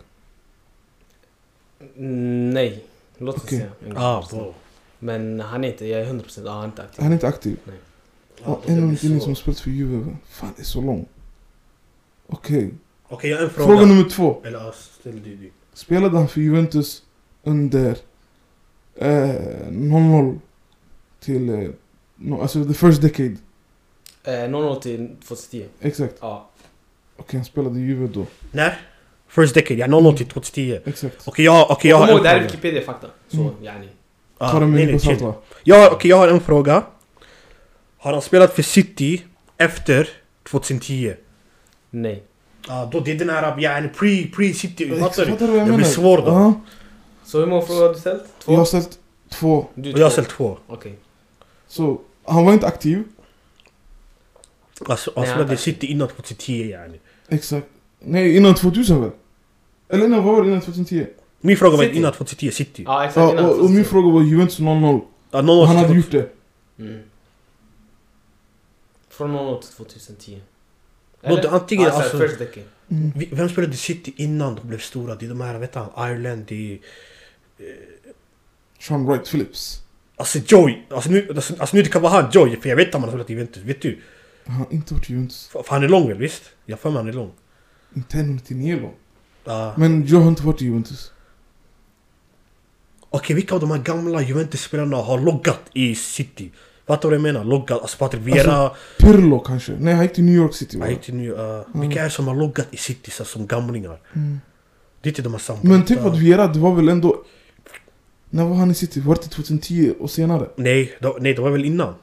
A: Mm, Nej, låt oss
C: Okej.
A: säga. en gång.
B: Ah, bra.
A: Men han är inte, jag är 100% ja, han är inte aktiv.
C: Han är inte aktiv.
B: Ja,
C: Ah, Och
B: Ah, det blir
C: 199
B: så.
C: som har spelat för Juve. va? Fan det är så lång. Okej.
B: Okej, jag har en fråga.
C: Fråga. nummer två.
B: Eller ja, ställ du din.
C: Spelade han för Juventus under eh, 00 till... Eh, no, alltså the first decade.
A: Eh, 00 till 2010.
C: Exakt.
A: Ja.
C: Okej han spelade i Juve då.
B: När? First decade, ja 00 till 2010.
C: Exakt.
B: Okej jag, okay, jag
A: Kom
B: har
A: ihåg, det här är
B: en fråga.
A: Wikipedia-fakta. Så,
C: Mm.
A: yani.
B: Ah,
C: Ta det med
B: nej,
C: en
B: nej,
C: nypa salt
B: chill.
C: va?
B: jag, okej, jag har en fråga. Har han spelat för City efter 2010?
A: Nej.
B: Ja, då det är den här yani pre, pre City, fattar
C: Fattar
B: du?
C: du vad jag
B: Det
C: menar?
B: blir svår då.
C: Ja.
A: Så hur många frågor har du ställt? Två?
C: Jag har ställt två.
A: Du
B: Och jag har
A: två.
B: ställt två.
A: Okej.
C: Så han var inte aktiv.
B: Alltså
A: Nej,
B: han spelade i
A: vänta.
B: City innan 2010 yani.
C: Exakt. Nej, innan 2000 väl? Eller innan, vad var det? Innan 2010?
B: Min fråga var
A: City.
B: innan 2010, City.
A: Ja, exakt.
C: Ja,
A: innan
C: och, och min
A: 2010.
C: fråga var Juventus 0-0.
B: Ja, 00
C: Och han hade
B: till
C: gjort det.
A: Mm. Från 00 till 2010.
B: Då det antingen,
A: alltså,
B: alltså-
A: first decade.
C: Mm.
B: Vi- Vem spelade i City innan de blev stora? Det är de här, vet du, Ireland, det är...
C: Sean Wright Phillips.
B: Alltså Joy! Alltså nu, alltså, alltså nu det kan vara han Joy, för jag vet att han har spelat i Juventus, vet du?
C: Han har inte varit i Juventus.
B: För, för han är lång väl, visst? Jag har för mig han är lång.
C: Inte 199 lång.
B: Ja.
C: Men jag har inte varit i Juventus.
B: Okej, vilka av de här gamla Juventus-spelarna har loggat i City? Fattar du vad jag menar? Loggat, alltså Patrik Vieira,
C: Pirlo kanske? Nej, han gick till New York City va?
B: jag gick till nu, eh, vilka är det som har loggat i City så, som gamlingar?
C: Mm.
B: Det är inte de här samma.
C: Men tänk på att Vieira, det var väl ändå... När var han i City? Var det 2010 och senare?
B: Nej, de, nej, det var väl innan?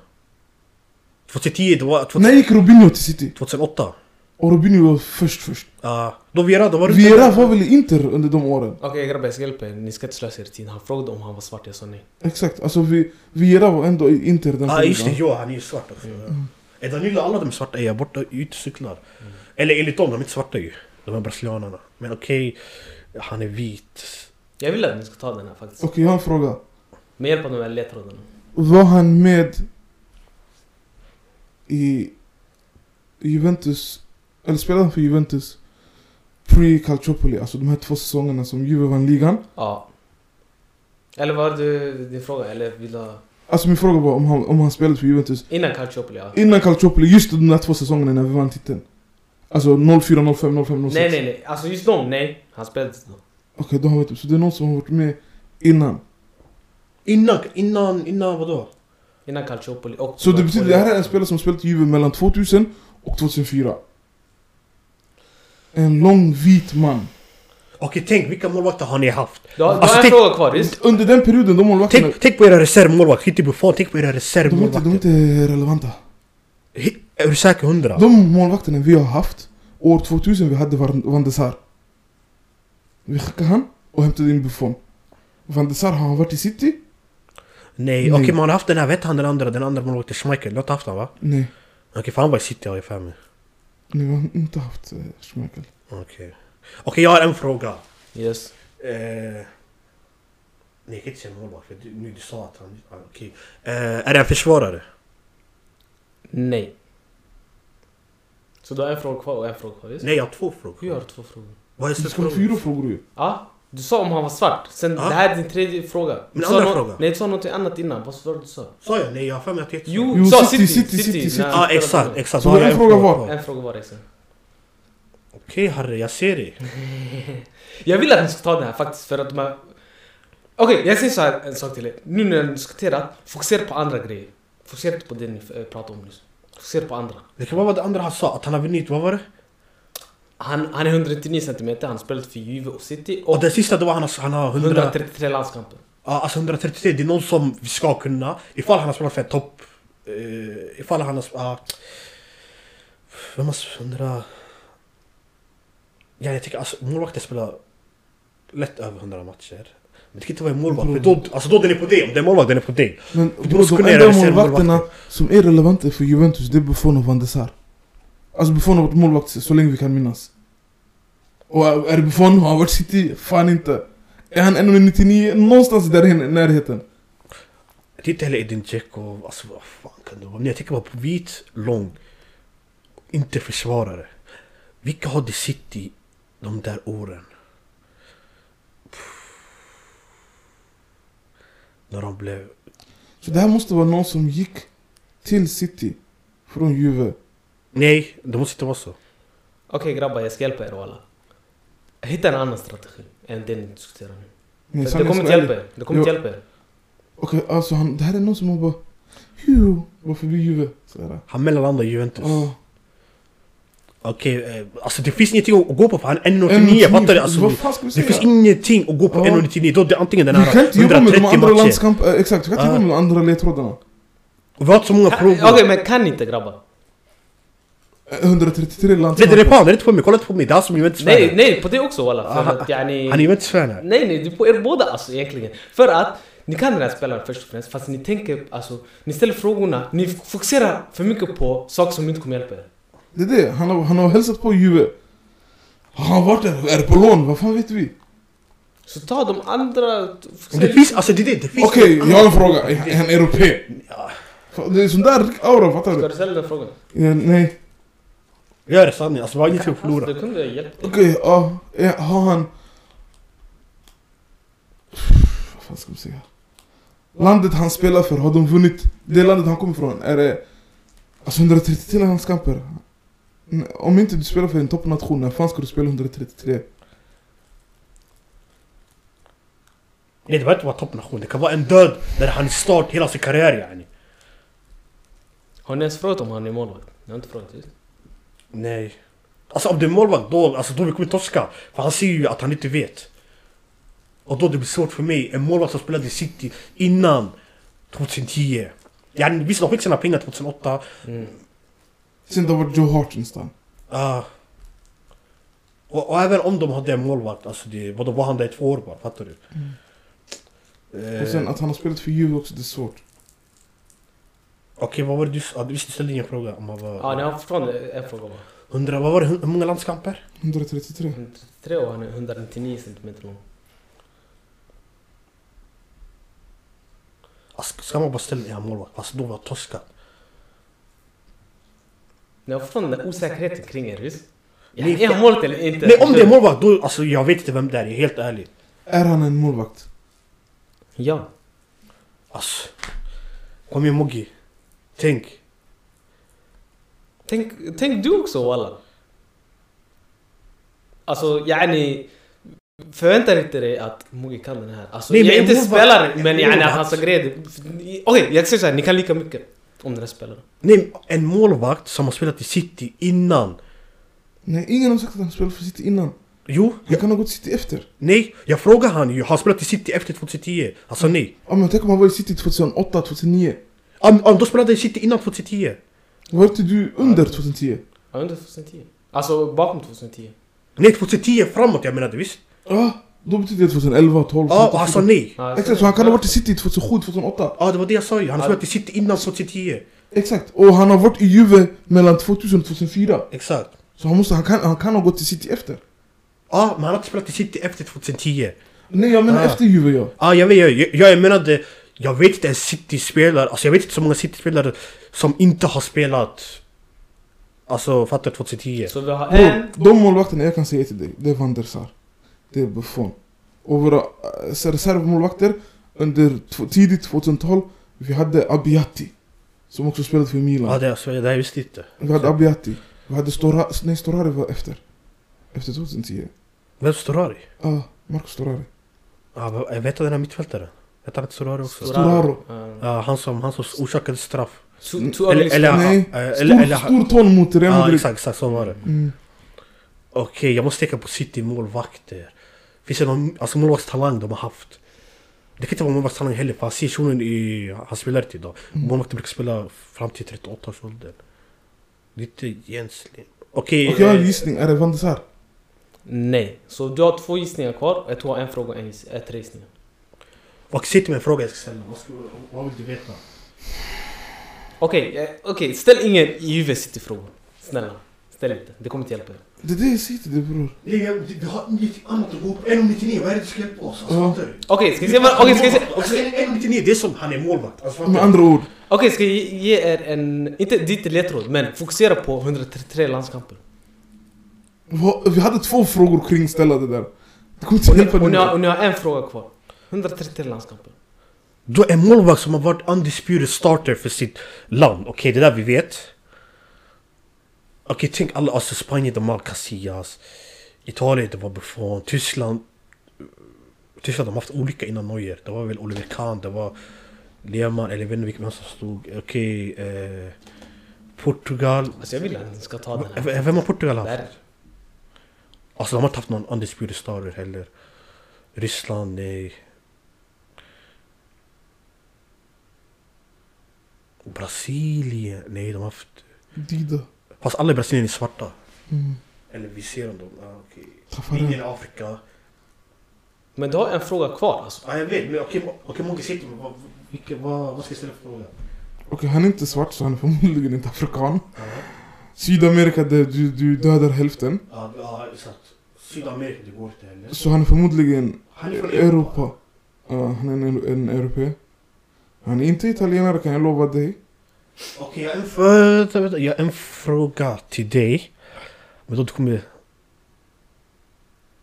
B: 2010, det var 2000,
C: När gick Robinho till City?
B: 2008?
C: Och Robinho var först först.
B: Uh, då Vieira, då var det
C: Vieira var väl i Inter under de åren?
A: Okej grabbar, jag ska hjälpa er. Ni ska inte slösa er tid. Han frågade om han var svart, jag sa nej.
C: Exakt, alltså vi, Vieira var ändå i Inter den
B: Ja ah,
C: perioden.
B: just det, ja han är ju svart också.
C: Mm.
B: Är Danilo alla de svarta är jag borta ute och cyklar? Eller enligt dem, de är inte svarta ju. De här brasilianerna. Men okej, han är vit.
A: Jag vill att ni ska ta den här faktiskt.
C: Okej, jag har en fråga.
A: Med hjälp av de här ledtrådarna.
C: Var han med i Juventus, eller spelade han för Juventus pre-Calciopoli, alltså de här två säsongerna som Juve vann ligan?
A: Ja. Eller var det din fråga? Eller vill du ha...
C: Alltså min fråga var om han, om han spelade för Juventus
A: Innan Calciopoli, ja.
C: innan Calciopoli, just de där två säsongerna när vi vann titeln. Alltså 04, 05, 05, 06.
A: Nej, nej, nej. Alltså just dem, nej. Han spelade inte då.
C: Okej, då har vi typ, så det är någon som har varit med innan.
B: Innan, innan, innan vadå?
A: Innan Calciopoli och...
C: Så det betyder att det här är en spelare som spelat i Juve mellan 2000 och 2004. En lång vit man.
B: Okej, tänk vilka målvakter har ni haft?
A: Du har, du
B: Alltså,
A: har en
B: tänk-
A: fråga kvar, visst?
C: Under den perioden, de målvakterna...
B: Tänk, tänk på era reservmålvakter, skit i Buffon, tänk på era
C: De är, inte, de är
B: reservmålvakter.
C: inte relevanta.
B: He- Är du säker hundra?
C: De målvakterna vi har haft, år 2000 vi hade Van, Van de Sar. Vi skickade han och hämtade in Buffon. Van de Sar, har han varit i city?
B: Nej, okej man har haft den här, vet han den andra, den andra målvakten, Schmeichel, du har inte haft han va?
C: Nej,
B: Okej, för han var i city har jag för mig.
C: nej vi har inte haft eh, Schmeichel.
B: Okej. Okej, jag har en fråga.
A: Yes.
B: Eh, nej, jag kan inte säga målvakt, för du- nu du sa att han... ah, Okej. Eh, är det en försvarare?
A: Nej. Så du har en fråga kvar och en fråga kvar, visst?
B: Nej, jag har två
A: Vi har
B: frågor.
A: två frågor.
B: Vad är
C: Det ska vara fyra frågor ju.
A: Ja, du sa om han var svart. Sen,
B: Ja.
A: det här är din tredje fråga. Du
B: Min
A: sa
B: andra
A: nå-
B: fråga.
A: Nej, du sa någonting annat innan. Vad var det du sa?
B: Sa jag? Nej, jag har för mig att jag heter
A: Jo,
C: Jo,
A: du sa
C: city,
A: city,
C: city,
A: city,
C: city, city.
A: Nej,
B: Ja, ah,
A: jag
B: exakt,
A: spelar
B: exakt.
C: Så
B: Då har
C: det är
B: jag
C: en fråga var.
A: på. En fråga var det. Sen.
B: Okej Harry, jag ser dig.
A: Jag vill att ni ska ta den här faktiskt för att de här... Okej, jag säger så här en sak till er. Nu när ni diskuterar, fokusera på andra grejer. Fokusera inte på det ni eh, pratar om nyss. Fokusera på andra.
B: Det kan vara vad det andra han sa, att han har vunnit, vad var det?
A: Han, han är 199 cm, han spelat för Juve och City
B: Och
A: och
B: den sista det var han, har- han har 100, 100.
A: 133 landskamper.
B: alltså 133, det är någon som vi ska kunna. Ifall han har spelat för ett topp... Uh, ifall han har... sp- ah. vem har sp- 100... Ja, jag tycker alltså målvakter spelar lätt över 100 matcher. Men det kan inte vara en målvakt, för då, alltså då den är på dig. Om det är målvakt, den är på dig.
C: Men
B: Du
C: bro,
B: måste kunna
C: de
B: göra
C: enda
B: reservmålvakter.
C: målvakterna som är relevanta för Juventus, det är Buffon och Van de Sar. Alltså Buffon har varit målvakt så länge vi kan minnas. Och är är det Oh, Buffon, har han varit city? Fan inte. Är han 1,99? Någonstans där i närheten.
B: Det är inte heller Edin Dzeko, alltså vad fan kan det vara? Men jag tänker bara på vit, lång, inte försvarare. Vilka hade City de där åren? Pff. När de blev...
C: Så det här måste vara någon som gick till City från Juve.
B: Nej, det måste inte vara så.
A: Okej grabbar, jag ska hjälpa er och alla. Hitta en annan strategi än den ni diskuterar nu.
C: Nej,
A: För det
C: sanningen
A: kommer
C: ska
A: inte
C: vara
A: hjälpa
C: ärlig.
A: er. Det kommer inte
C: Jo.
A: hjälpa er.
C: Okej, alltså han, det här är någon som har bara... Hju, var förbi Juve. Så här. Ah,
B: Han mellanlandade i Juventus.
C: Ja.
B: Okej, eh, alltså det finns ingenting att gå på för han är 1,99
C: 1,99,
B: fattar du? Alltså,
C: vad fan ska vi
B: det
C: säga?
B: finns ingenting att gå på
C: Ja.
B: 1,99 då är det antingen den
C: Du kan
B: här
C: inte jobba med de
B: 130
C: andra
B: matcher. Ah.
C: landskamperna, exakt, du kan inte
B: Ja.
C: jobba med de andra ledtrådarna.
B: Och vi har inte så många
A: Kan-
B: frågor.
A: Okej, men kan ni inte grabbar?
C: Eh,
B: Nej,
C: 133
B: det är
C: landskamper.
B: fan, det är inte på mig. Kolla inte på mig. Det är han som är Juventus-fan.
A: Nej, nej, på det också walla. För
B: Aha.
A: att yani...
B: Han är Juventus-fan här.
A: Nej, nej, det är på er båda alltså egentligen. För att ni kan den här spelaren först och främst, fast ni tänker, alltså, ni ställer frågorna, ni fokuserar för mycket på saker som inte kommer hjälpa er.
C: Det är det, han har, han har hälsat på Juve. Har han varit där? Är det på lån? Vad fan vet vi?
A: Så ta de andra...
B: Om Det finns, alltså det är det, det finns
C: Okej, jag har en fråga. Är han europé? Fan, Det är sån där aura, fattar
A: Ska
C: du?
A: du ställa den frågan?
C: Ja, nej.
B: Gör det sanning, alltså vi har ingenting att
A: Alltså,
B: förlora.
A: det kunde jag hjälpt dig.
C: Okej, ja. ja, Har han... Vad fan ska man säga? Landet han spelar för, har de vunnit? Det landet han kommer ifrån, är det... Alltså 133 landskamper? Mm, Om inte du spelar för en toppnation, när fan ska du spela 133?
B: Nej det behöver inte vara toppnation, det kan vara en död där han start hela sin karriär yani.
A: Har ni ens frågat om han är målvakt? Ni har inte frågat visst?
B: Nej. Alltså om det är målvakt då, alltså då vi kommer torska. För han ser ju att han inte vet. Och då det blir svårt för mig, en målvakt som spelade i City innan 2010. Yani visst de fick sina pengar 2008.
C: Sen det har varit Joe Hart nästan.
B: ah. och, och även om de hade en målvakt, alltså det, vadå var han där i två år bara, fattar du?
C: Och
B: Eh,
C: sen att han har spelat för Juve också, det är svårt.
B: Okej vad var det du sa? Visst du ställde en fråga om han var...
A: Ja, ni har fortfarande en fråga bara.
B: 100, vad var det, hur hur många landskamper?
C: 133.
A: 133 och han är 199 cm lång.
B: Alltså, ska man bara ställa en målvakt? Alltså då var jag torskad.
A: Ni har fortfarande den här osäkerheten kring er visst? Ja,
B: Nej,
A: är han målvakt eller inte?
B: Nej om det är målvakt då, alltså jag vet inte vem det är, jag är helt ärlig.
C: Är han en målvakt?
A: Ja.
B: Alltså. Kom igen Moggi. Tänk.
A: Tänk, tänk du också walla. Alltså yani Förvänta inte dig att Mugi kan den här. Alltså,
B: Nej,
A: jag är
B: men
A: inte
B: Mugi-
A: spelare men
B: Mugi-
A: yani att han ska greja det. Okej, jag säger såhär, ni kan lika mycket om den här spelaren.
B: Nej, en målvakt som har spelat i City innan
C: Nej, ingen har sagt att han spelade för City innan.
B: Jo,
C: Han kan ha gått City efter.
B: nej. Jag frågade han ju. Han spelade i City efter 2010. Han sa Alltså, nej.
C: Ja, men tänk om han var i City 2008, 2009.
B: Om, om då spelade i City innan 2010.
C: Var inte du under 2010?
A: Ja, under 2010. Alltså bakom 2010.
B: Nej, 2010 framåt jag menade visst.
C: Ja, då betyder det 2011, 12,
B: Ja, och han sa nej.
A: Ja, alltså-
C: Exakt, så han kan ha varit i City 2007, 2008.
B: Ja, det var det jag sa ju. Han
A: Ja.
B: har spelat i City innan 2010.
C: Exakt, och han har varit i nou Juve mellan 2000 och 2004.
B: Exakt.
C: Så han, måste, han, kan, han kan ha gått till City efter.
B: Ja, men han har inte spelat i City efter 2010.
C: Nej, jag menar
B: Ah.
C: efter Juve, ja.
B: Ja, jag vet. Jag, jag, jag menade... Jag vet inte en City-spelare. Alltså jag vet inte så många City-spelare som inte har spelat... Alltså, fattar 2010.
A: Så vi har en.
C: Bro, de målvakterna jag kan säga till dig, det är Van der Sar. Det är Buffon. Och våra eh, reservmålvakter under tw- tidigt 2000-tal, vi hade Abiati. Som också spelade för Milan.
B: Ja, det, alltså, det här visste jag inte.
C: vi hade Abiati. Vi hade Stora... Nej, Storari var efter. Efter 2010.
B: Vem Storari?
C: Ja, Marco Ah, Storari.
B: Ja, men jag vet den här mittfältaren. Vet han inte Storari också?
C: Storaro.
A: Ja.
B: Ja, han som, han som orsakade straff.
A: Two- two
B: Eller-
A: ugly
B: eller-
A: sons.
C: Nej,
B: eh,
C: stor,
B: eller- eller-
C: stor ton mot Real
B: Ja,
C: Madrid.
B: exakt, exakt så var det.
C: Mm.
B: Okej, jag måste tänka på City-målvakter. Finns det någon alltså, målvaktstalang de har haft? Det kan inte vara målvaktstalang heller, för han ser shunon i... Han spelar inte idag.
C: Mm.
B: Målvakter brukar spela fram till 38 års ålder. Det är inte Jens Lind. Okej,
C: Och jag har
B: eh,
C: en gissning, är det Van der Sar?
A: Nej. Så du har två gissningar kvar. Jag tror en fråga och en giss- eh, tre gissningar.
B: och City med en fråga jag ska ställa. Vad skulle- Vad vill du veta?
A: Okej, eh, okej. Ställ ingen Juve City-frågor. Snälla. Ställ inte. Det kommer inte hjälpa er.
C: Det är det jag säger till dig bror.
B: Vi har inget annat att gå upp. 1,99, vad är det du ska hjälpa oss?
C: Alltså, Ja. fattar
B: du?
A: Okej, ska vi se vad... Okej, ska vi se...
B: Alltså, 1,99 det är som han är målvakt. Alltså,
C: Med andra ord.
A: Okej, ska jag ge- ge er en... Inte ditt ledtråd, men fokusera på 133 landskamper.
C: Va- Vi hade två frågor kring ställa det där. Det kommer inte
A: Och ni,
C: hjälpa
A: och, ni har,
C: dig.
A: och ni har en fråga kvar. 133 landskamper.
B: Du är en målvakt som har varit undisputed starter för sitt land. Okej, det där vi vet. Okej, tänk alla. Alltså Spanien, de har Casillas. Italien, det var Buffon. Tyskland. Tyskland, de har haft olika innan Neuer. Det var väl Oliver Kahn, det var Lehmann, eller jag vet inte vilken som stod. Okej, eh, Portugal.
A: Alltså jag vill att ni ska ta den här.
B: V- Vem har Portugal haft?
A: Där.
B: Alltså de har inte haft någon undisputed starter heller. Ryssland, nej. Brasilien, nej de har haft...
C: Dida.
B: Fast alla i Brasilien är svarta.
C: Mm.
B: Eller vi ser dem, ah, okej.
C: Traffare.
B: Ingen i Afrika.
A: Men du har en fråga kvar alltså.
B: Ja jag vet, men okej, okej många sitter men vad, vilka, vad, vad ska jag ställa för fråga?
C: Okej, han är inte svart så han är förmodligen inte afrikan. Sydamerika, där du, du dödar hälften.
B: Ja, ja exakt. Sydamerika, det går inte heller.
C: Så han är förmodligen
B: Han
C: Europa. Ja, han är en, en europé. Han är inte italienare kan jag lova dig.
B: Okej, jag har en fråga- vänta, jag har en fråga till dig. Men då kommer...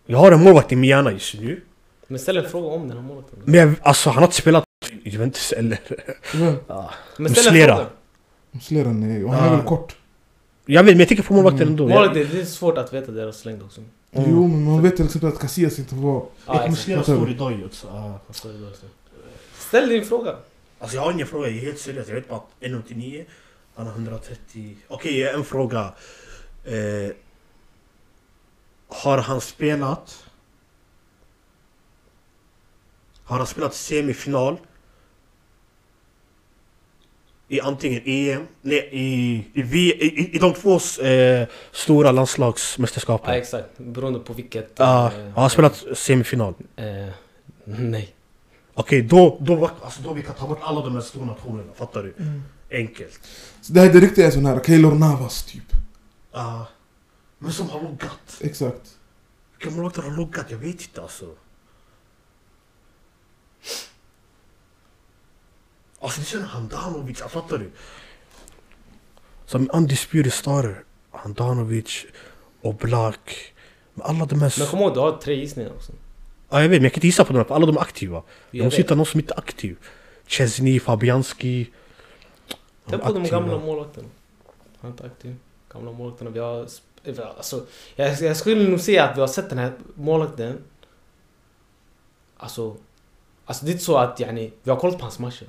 B: Jag har en målvakt i min hjärna just nu.
A: Men ställ en fråga om den här målvakten.
B: Men jag, alltså han har inte spelat i Juventus eller...
C: Vem?
A: Men ställ en
B: Muslera.
A: fråga.
C: Muslera nej. Och han är
B: Ah.
C: väl kort.
B: Jag vet, men jag tänker på målvakten
C: Mm.
B: ändå.
A: Målet,
B: Jag,
A: det det är svårt att veta deras längd också.
B: Mm.
C: Jo, men man vet till exempel att Casillas inte var...
A: Ja, exakt.
C: Muslera står
B: idag ju också.
A: Så är det bara så. Ställ din fråga.
B: Alltså jag har ingen fråga, jag är helt seriös. Jag vet bara att 189, han har 130. Okej, jag har en fråga. Eh, har han spelat... Har han spelat semifinal? I antingen EM, nej i, i, V- i, i, i de två eh, stora landslagsmästerskapen.
A: Ja, exakt. Beroende på vilket...
B: Ja,
A: eh,
B: han Ah, har spelat semifinal.
A: eh, nej.
B: Okej, då, då, var- alltså, då vi kan ta bort alla de här stora nationerna, fattar du? Enkelt.
C: Så det här är riktigt en sån här Keylor Navas typ.
B: Ja. men som har loggat.
C: Exakt.
B: Vilka målvakter har loggat? Jag vet inte alltså. Alltså det är sån Handanovic, alltså, fattar du? Som undisputed starter. Handanovic, Oblak. Men alla de här...
A: Men kom ihåg, du har tre gissningar också.
B: Ja, jag vet, men jag kan inte gissa på dem, för alla de är aktiva. Jag
A: Jag
B: måste
A: vet.
B: hitta någon som inte är aktiv. Chesney, Fabianski.
A: Tänk på de
B: aktiva.
A: gamla målvakterna. Han är inte aktiv. Gamla målvakterna. Vi har... sp- vi har- Alltså, jag, jag skulle nog säga att vi har sett den här målvakten. Alltså... Alltså det är inte så att yani, vi har kollat på hans matcher.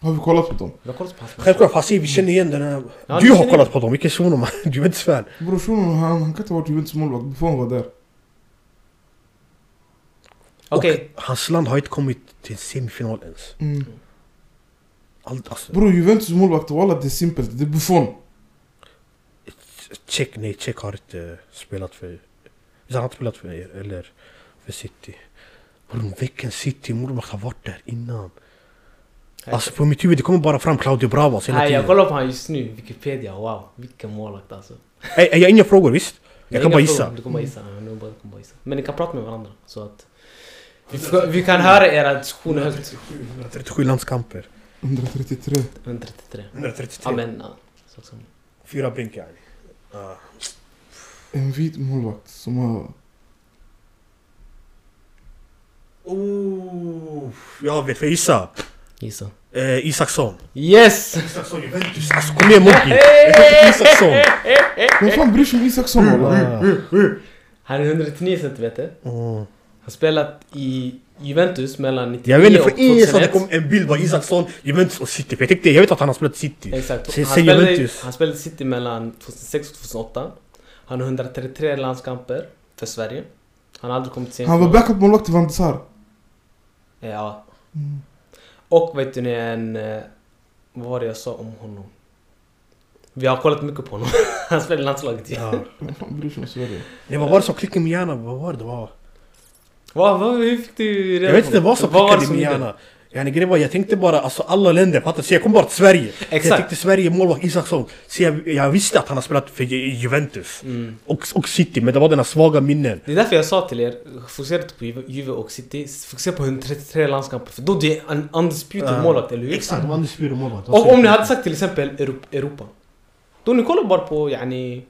C: Har vi kollat på dem?
A: Vi har kollat på hans match.
B: Självklart Hasib, vi känner igen den här...
A: Ja,
B: du
A: vi
B: har
A: känner-
B: kollat på dem, vilken shuno man. Du är inte fan.
C: Bror Shunon han, han kan inte ha varit Juventus målvakt, Buffon var där.
A: Okej,
B: Och hans land har inte kommit till semifinal ens.
C: Mm.
B: Allt, alltså,
C: Bror Juventus målvakt, walla det är simpelt, det är Buffon.
B: check, nej, check har inte spelat för... Han har inte spelat för er, eller för City. Bro, vilken City? Mormor har varit där innan.
A: Här-
B: Alltså på mitt huvud, det kommer bara fram Claudio Bravas hela
A: Nej, jag
B: tiden.
A: kollar på han just nu, Wikipedia, wow. Vilken målvakt alltså.
B: Ey, ey, Jag har inga frågor, visst? Jag kan
A: inga
B: bara
A: frågor,
B: gissa. Mm.
A: Du kan bara gissa, ja, du kan bara- du kan bara gissa. Men ni kan prata med varandra så att... Vi, får- vi kan höra era diskussioner högt.
B: 37 landskamper.
C: 133.
A: 133.
B: 133.
A: Amen. ja. Så som-
B: Fyra blink yani. Ah.
C: En vit målvakt som har...
B: Oh, jag vet, för gissa.
A: Gissa.
B: Eh, Isaksson.
A: Yes!
B: Isaksson, Juventus. Alltså kom igen Monkey. Jag tänkte Isaksson.
C: Vem fan bryr sig om Isaksson
A: Hmm,
C: walla?
A: Han är 109 centimeter.
B: Mm.
A: Han spelat i Juventus mellan 99
B: Jag vet inte,
A: och
B: för ingenstans det
A: 2001.
B: kom en bild på Isaksson, Juventus och City. För jag tänkte, jag vet att han har spelat City.
A: Exakt.
B: Sen-
A: Han
B: sen
A: spelade, i-
B: Juventus.
A: han spelade i City mellan 2006 och 2008. Han har 133 landskamper för Sverige. Han har aldrig kommit till
C: Han var backup målvakt till Van de Sar.
A: Ja.
C: Mm.
A: Och vet du ni en... eh, Vad var det jag sa om honom? Vi har kollat mycket på honom. Han spelar i landslaget ju.
B: Ja.
C: Vem fan bryr sig om Sverige?
B: Nej, vad var det som klickade i min hjärna? Vad var det det var?
A: Vad, vad, hur fick du reda
B: Jag vet inte
A: på
B: vad som
A: var
B: klickade
A: det
B: i min
A: gjorde?
B: hjärna. Yani grejen var, jag tänkte bara alltså alla länder, fattar du? Så jag kom bara till Sverige.
A: Exakt.
B: Jag tänkte Sverige, målvakt Isaksson. Så jag, jag visste att han har spelat för Ju- Juventus.
A: Mm.
B: Och, och City, men det var den här svaga minnen.
A: Det är därför jag sa till er, fokusera inte på Juve- Juve och City. Fokusera på 133 landskamper. För då det är en undisputed
B: Ja.
A: målvakt, eller hur?
B: Exakt, man spelar målvakt.
A: Och om ni hade sagt till exempel Europ- Europa. Då ni kollar bara på yani...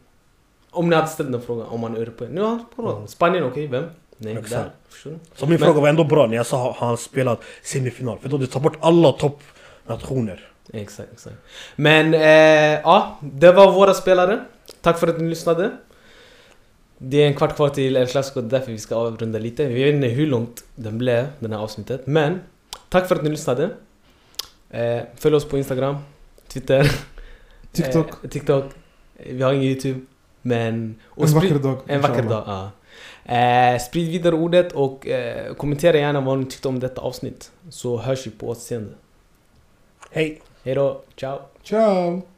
A: Om ni hade ställt den frågan om man är europé. Nu har han kollat. Spanien, okej, vem? Nej,
B: Exakt.
A: där. Förstår du?
B: Så min
A: Men-
B: fråga var ändå bra när jag sa har han spelat semifinal. För då du tar bort alla toppnationer.
A: Exakt, exakt. Men eh, ja, det var våra spelare. Tack för att ni lyssnade. Det är en kvart kvar till El Clasico, det är därför vi ska avrunda lite. Vi vet inte hur långt den blev, det här avsnittet. Men tack för att ni lyssnade. Eh, följ oss på Instagram, Twitter,
C: TikTok.
A: Eh, TikTok. Eh, Vi har ingen YouTube. Men... och
C: En
A: sprid-
C: vacker dag.
A: En vacker
C: inshallah.
A: dag, ja. Eh, sprid vidare ordet och eh, kommentera gärna vad ni tyckte om detta avsnitt. Så hörs vi på återseende.
B: Hej!
A: Hejdå, ciao!
C: Ciao!